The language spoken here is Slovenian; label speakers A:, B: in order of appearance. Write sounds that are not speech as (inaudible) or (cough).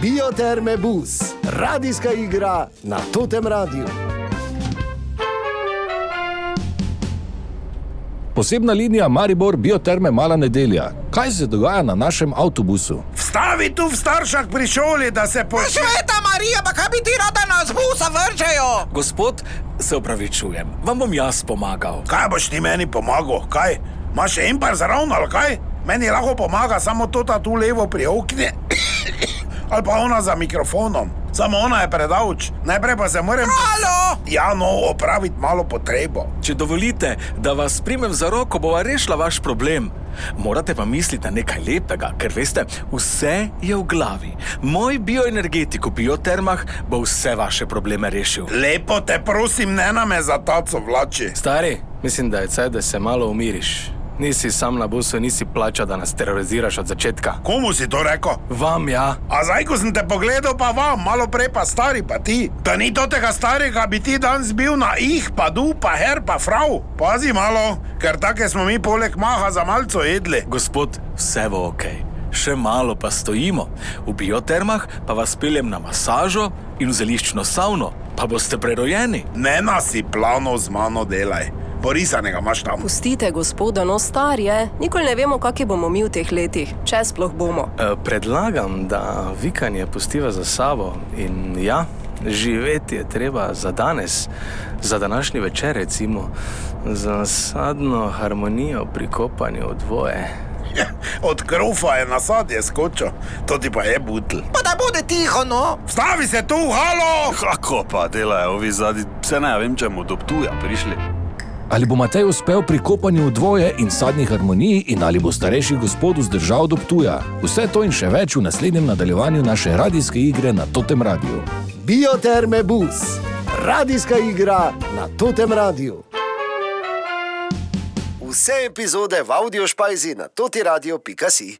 A: Bioterme Bus, radijska igra na totem radiju.
B: Posebna linija Maribor Bioterme Mala nedelja. Kaj se dogaja na našem avtobusu?
C: Stavi tu v staršah pri šoli, da se po...
D: Sveta Marija, pa kaj bi ti rada nas busa vržejo?
E: Gospod, se upravičujem, vam bom jaz pomagal.
C: Kaj boš ti meni pomagal, kaj? Imaš še en par zaravno, ali kaj? Meni lahko pomaga samo to ta tu levo pri okne. (coughs) ali pa ona za mikrofonom. Samo ona je predavč, najprej pa se moram...
D: Alo!
C: Ja, no, opraviti malo potrebo.
E: Če dovolite, da vas primem za roko, bova rešila vaš problem. Morate pa misliti na nekaj lepega, ker veste, vse je v glavi. Moj bioenergetik v biotermah bo vse vaše probleme rešil.
C: Lepo te prosim, ne name za taco vlači.
F: Stari, mislim, da je caj, da se malo umiriš. Nisi sam na busu, nisi plačal, da nas teroriziraš od začetka.
C: Komu si to rekel?
F: Vam ja.
C: A zdaj, ko sem te pogledal, pa vam, malo prej pa stari, pa ti. Da ni to tega starega, bi ti danes bil na ih, pa du, pa her, pa frau. Pazi malo, ker take smo mi poleg maha za malco jedli.
E: Gospod, vse bo ok. Še malo pa stojimo. V biotermah pa vas peljem na masažo in v zeliščno savno, pa boste prerojeni.
C: Ne nasi plano z mano delaj. Porisanega imaš tam.
G: Pustite, gospoda, no star je. Nikoli ne vemo, kakšni bomo mi v teh letih, če sploh bomo.
F: E, predlagam, da vikanje pustiva za sabo in ja, živeti je treba za danes, za današnji večer, recimo, za sadno harmonijo pri kopanju v dvoje.
C: Ja, Od krufa je nasad je skočil, to ti pa je butl.
D: Pa da bude tiho, no!
C: Stavi se tu, halo!
H: Kako pa delajo ovi zadnji, se ne vem, če mu do tuja prišli.
B: Ali bo Matej uspel pri kopanju v dvoje in sadni harmoniji, in ali bo starejši gospod vzdržal do tuja? Vse to in še več v naslednjem nadaljevanju naše radijske igre na totem radiju.
A: Bioterme Bus, radijska igra na totem radiju. Vse epizode v Audiošpajzi na totiradio.si.